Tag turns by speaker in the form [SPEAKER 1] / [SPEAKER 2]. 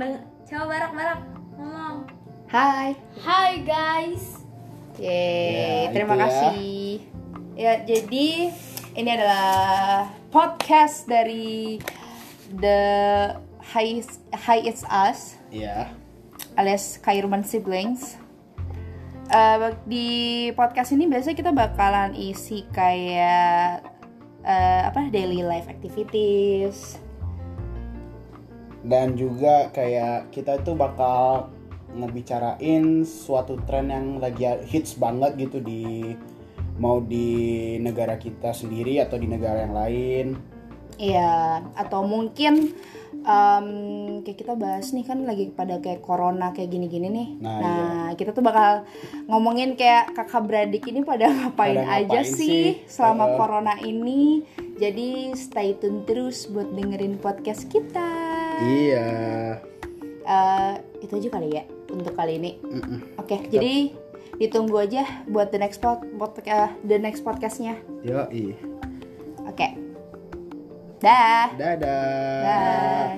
[SPEAKER 1] Bang- Coba barak-barak ngomong.
[SPEAKER 2] Hai.
[SPEAKER 1] Hai guys.
[SPEAKER 2] Yeay,
[SPEAKER 3] Ya,
[SPEAKER 2] terima
[SPEAKER 3] itu ya.
[SPEAKER 2] kasih. Ya, jadi ini adalah podcast dari The Hi, Hi It's Us
[SPEAKER 3] Iya.
[SPEAKER 2] alias Kairuman Siblings. Eh, di podcast ini biasanya kita bakalan isi kayak eh, apa daily life activities.
[SPEAKER 3] Dan juga kayak kita itu bakal ngebicarain suatu tren yang lagi hits banget gitu di mau di negara kita sendiri atau di negara yang lain.
[SPEAKER 2] Iya, atau mungkin em, kayak kita bahas nih kan lagi pada kayak corona kayak gini-gini nih.
[SPEAKER 3] Nah,
[SPEAKER 2] kita tuh bakal ngomongin kayak kakak beradik ini pada ngapain
[SPEAKER 3] Pada
[SPEAKER 2] aja
[SPEAKER 3] ngapain
[SPEAKER 2] sih,
[SPEAKER 3] sih?
[SPEAKER 2] selama
[SPEAKER 3] Heeh.
[SPEAKER 2] corona ini. Jadi stay tune terus buat dengerin podcast kita.
[SPEAKER 3] Iya.
[SPEAKER 2] Eh, itu aja kali ya untuk kali ini.
[SPEAKER 3] Mm-mm.
[SPEAKER 2] Oke, jadi ditunggu aja buat the next pod, pod eh, the next podcastnya.
[SPEAKER 3] Yoi.
[SPEAKER 2] Oke, dah.
[SPEAKER 3] Dadah.
[SPEAKER 2] Dah.